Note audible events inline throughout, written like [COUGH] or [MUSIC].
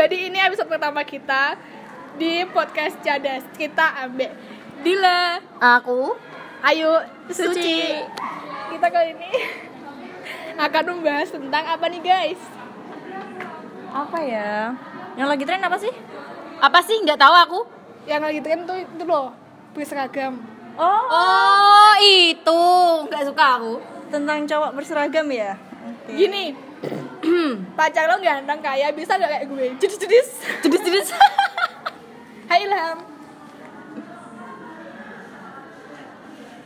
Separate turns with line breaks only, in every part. [LAUGHS]
ini episode pertama kita di podcast Cadas. Kita ambek Dila,
Aku
Ayu, Suci.
Suci.
Kita kali ini akan membahas tentang apa nih guys?
apa ya? Yang lagi tren apa sih? Apa sih? Nggak tahu aku.
Yang lagi tren tuh itu loh, berseragam.
Oh. itu nggak suka aku. Tentang cowok berseragam ya?
Gini, pacar lo ganteng kaya bisa gak kayak gue? Jedis-jedis.
Jedis-jedis.
[LAUGHS] Hai Ilham.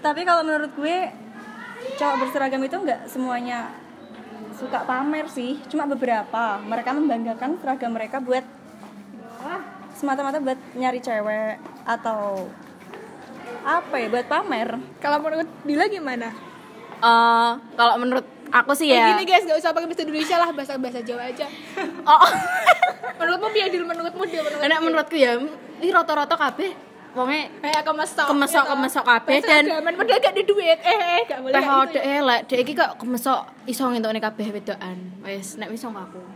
Tapi kalau menurut gue cowok berseragam itu nggak semuanya suka pamer sih, cuma beberapa. Mereka membanggakan seragam mereka buat semata-mata buat nyari cewek atau apa ya buat pamer.
Kalau menurut Dila gimana?
Eh, kalau menurut aku sih
Eh,
ya
gini guys, gak usah pakai bahasa Indonesia lah, bahasa-bahasa Jawa aja.
oh oh.
Menurutmu biar Dil menurutmu dia menurut.
[LAUGHS] enak menurutku ya ini rata-rata kabeh wonge
kayak kemesok
Kemesok,
gitu.
kemesok kabeh,
Bahasa
dan-
agaman, padahal gak ada duit eh eh gak boleh
teh
kayak gitu
dhek elek dhek iki kok kemesok iso ngentokne kabeh wedokan wis nek iso aku
ya.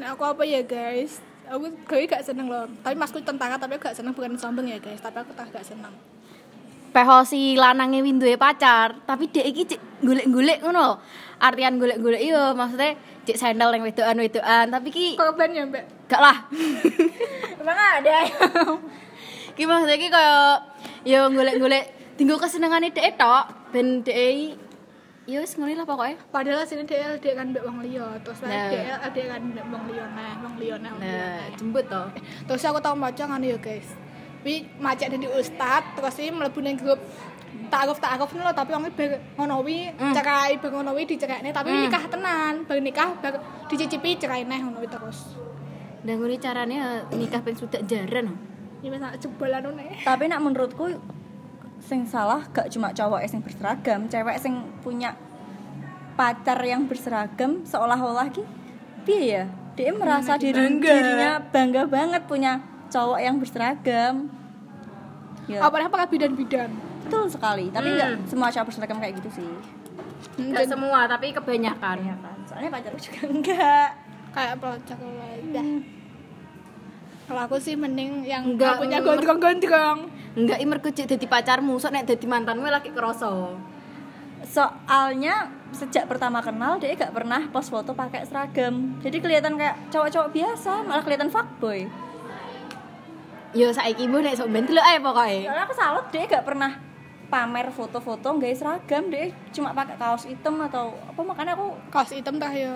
nah aku apa ya guys aku gue gak seneng loh tapi masku tentara tapi aku gak seneng bukan sombong ya guys tapi aku tak gak seneng
Peho si lanange winduwe pacar, tapi dhek iki cek golek-golek ngono. lho. Artian golek-golek yo maksudnya cek sandal yang wedokan-wedokan, tapi ki
korban ya mbak
gak lah.
Emang ada?
Ki maksudnya ki kaya yo golek-golek tinggal kesenengane dhek tok ben dhek iki- yo wis ngene lah pokoke.
padahal sini DL dia kan mbak wong liya terus nah.
Nah.
DL dia kan mbak wong liya nah wong liya nah, wong liya,
Nah,
nah.
jembut toh.
terus aku tau maca ngono ya guys tapi macet dari ustad terus ini mlebu ning grup takaruf takaruf ini loh tapi orangnya bar ngono wi cerai bar ngono wi dicerai tapi nikah tenan bar nikah bar dicicipi cerai neh ngono wi terus
Dan gue caranya nikah pengen sudah jaran.
ini masa jebolan nih
tapi nak menurutku sing salah gak cuma cowok sing berseragam cewek sing punya pacar yang berseragam seolah-olah ki piye ya dia merasa diri, dirinya bangga banget punya cowok yang berseragam ya
apalagi pakai bidan-bidan
betul sekali tapi nggak semua cowok berseragam kayak gitu sih
Enggak semua, tapi kebanyakan.
ya kan soalnya pacarku [LAUGHS] juga enggak
kayak pelacak udah kalau aku sih mending yang nggak
Enggak,
punya
mer-
gondrong-gondrong
Enggak i mergo cek dadi pacarmu, sok nek dadi mantanmu lagi kerasa.
soalnya sejak pertama kenal dia gak pernah post foto pakai seragam jadi kelihatan kayak cowok-cowok biasa malah kelihatan fuckboy
Yo saiki mbok nek sok ben delok ae pokoke.
soalnya aku salut dia gak pernah pamer foto-foto nggak seragam dia cuma pakai kaos hitam atau apa makanya aku
kaos hitam tah yo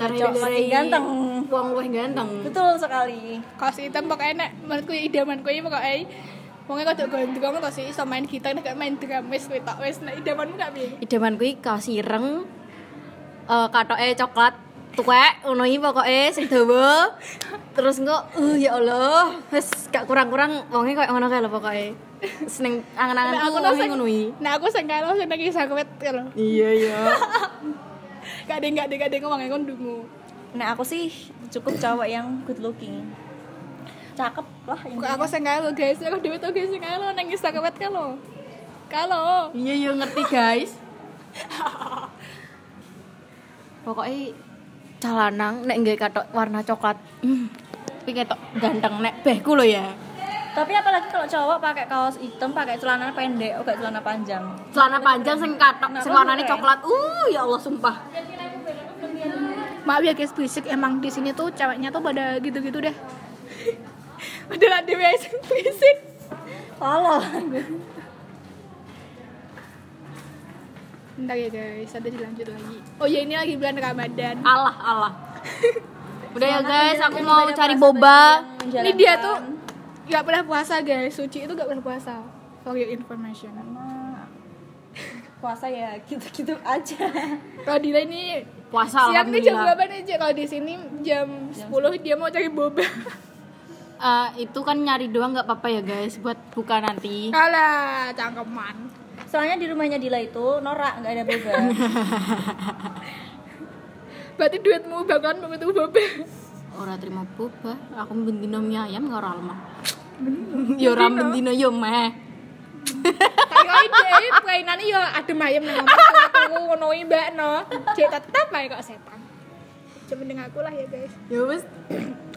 Karena
Cowok
dhewe
paling ganteng.
Wong luwih ganteng.
betul sekali
kaos hitam pokoknya nek menurutku idamanku ini pokoknya Pokoknya kau gondrong terus sih iso main gitar nek gak main drum wis kuwi tok wis nek idamanmu gak piye.
Idaman kuwi kaos ireng eh katoke coklat tuwek ngono iki pokoke sing dawa. Terus engko uh ya Allah, wis gak kurang-kurang wonge koyo ngono kae lho pokoke. Seneng
Nek
angan-anganku
aku tuh
wonge
sing
ngono iki.
Nek aku sing kalau sing nangis aku wet lho.
Iya iya.
Gak ada gak ada gak ada ngomong aku ndungu.
nah aku sih cukup cowok yang good looking cakep lah
Aku
intinya.
aku sing kalau guys, aku dhewe tau guys sing kalau nangis aku wet kalau. Kalau
Iya iya ngerti guys. Pokoknya calanang nek nggak katok warna coklat. Hmm. Tapi ketok ganteng nek behku lo ya.
tapi apalagi kalau cowok pakai kaos hitam pakai celana pendek oh gak celana panjang
Celana panjang sing katok sing warnane coklat. Uh ya Allah sumpah.
maaf ya guys berisik emang di sini tuh ceweknya tuh pada gitu-gitu deh. [LAUGHS] Udah ada guys sing berisik.
Halo
Bentar ya guys, ada dilanjut lagi. Oh ya ini lagi bulan Ramadan.
Allah [LAUGHS] Allah. Udah ya guys, aku mau
Ibadah
cari
puasa
boba.
bagi yang
Ini
menjalankan.
dia tuh nggak pernah puasa guys. Suci itu nggak pernah puasa. For your information.
Nah, puasa ya [LAUGHS] gitu-gitu aja
Kalau Dila ini
Puasa
siang nih jam
alhamdulillah.
berapa nih Cik? Kalau di sini jam 10 dia mau cari boba.
Eh, itu kan nyari doang nggak apa-apa ya guys buat buka nanti.
Alah, cangkeman.
soalnya di rumahnya Dila itu norak nggak ada boba [LAUGHS]
Berarti duitmu bakalan begitu boba.
Ora terima boba, aku bendino mie ayam nggak ora lemah. Yo ora bendino yo meh.
Kayak ide permainannya ya adem ayem nang ngomong turu ngono iki mbak no. Cik tetep ae kok setan. Sepenting aku lah ya guys.
ya wis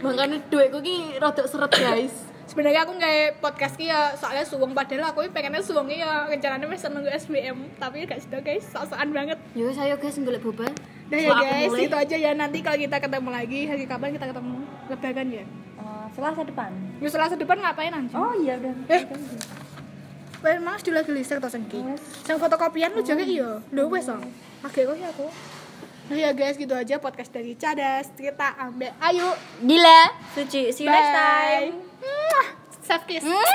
makanya duitku ki rodok seret guys
Sebenarnya aku nggak podcast ki ya soalnya suwung padahal aku pengennya suwung ki ya rencananya masih nunggu SBM tapi gak sudah guys sok-sokan banget.
ya wis ayo guys golek boba
Nah ya
Setelah aku
guys,
mulai.
itu aja ya nanti kalau kita ketemu lagi hari kapan kita ketemu lebaran ya.
Eh, Selasa depan.
Ya Selasa depan ngapain anjing?
Oh iya udah.
Eh. Wes mas dulu gelisir to sengki.
Wes.
Sing fotokopian lu jare iya. Lho wes to. Agek kok ya aku. Nah ya guys gitu aja podcast dari Cadas. Kita ambek Ayu.
gila
Suci, see you next time.
Mwah. Self kiss.
Mwah.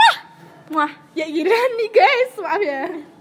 Muah.
Ya gila nih guys, maaf ya.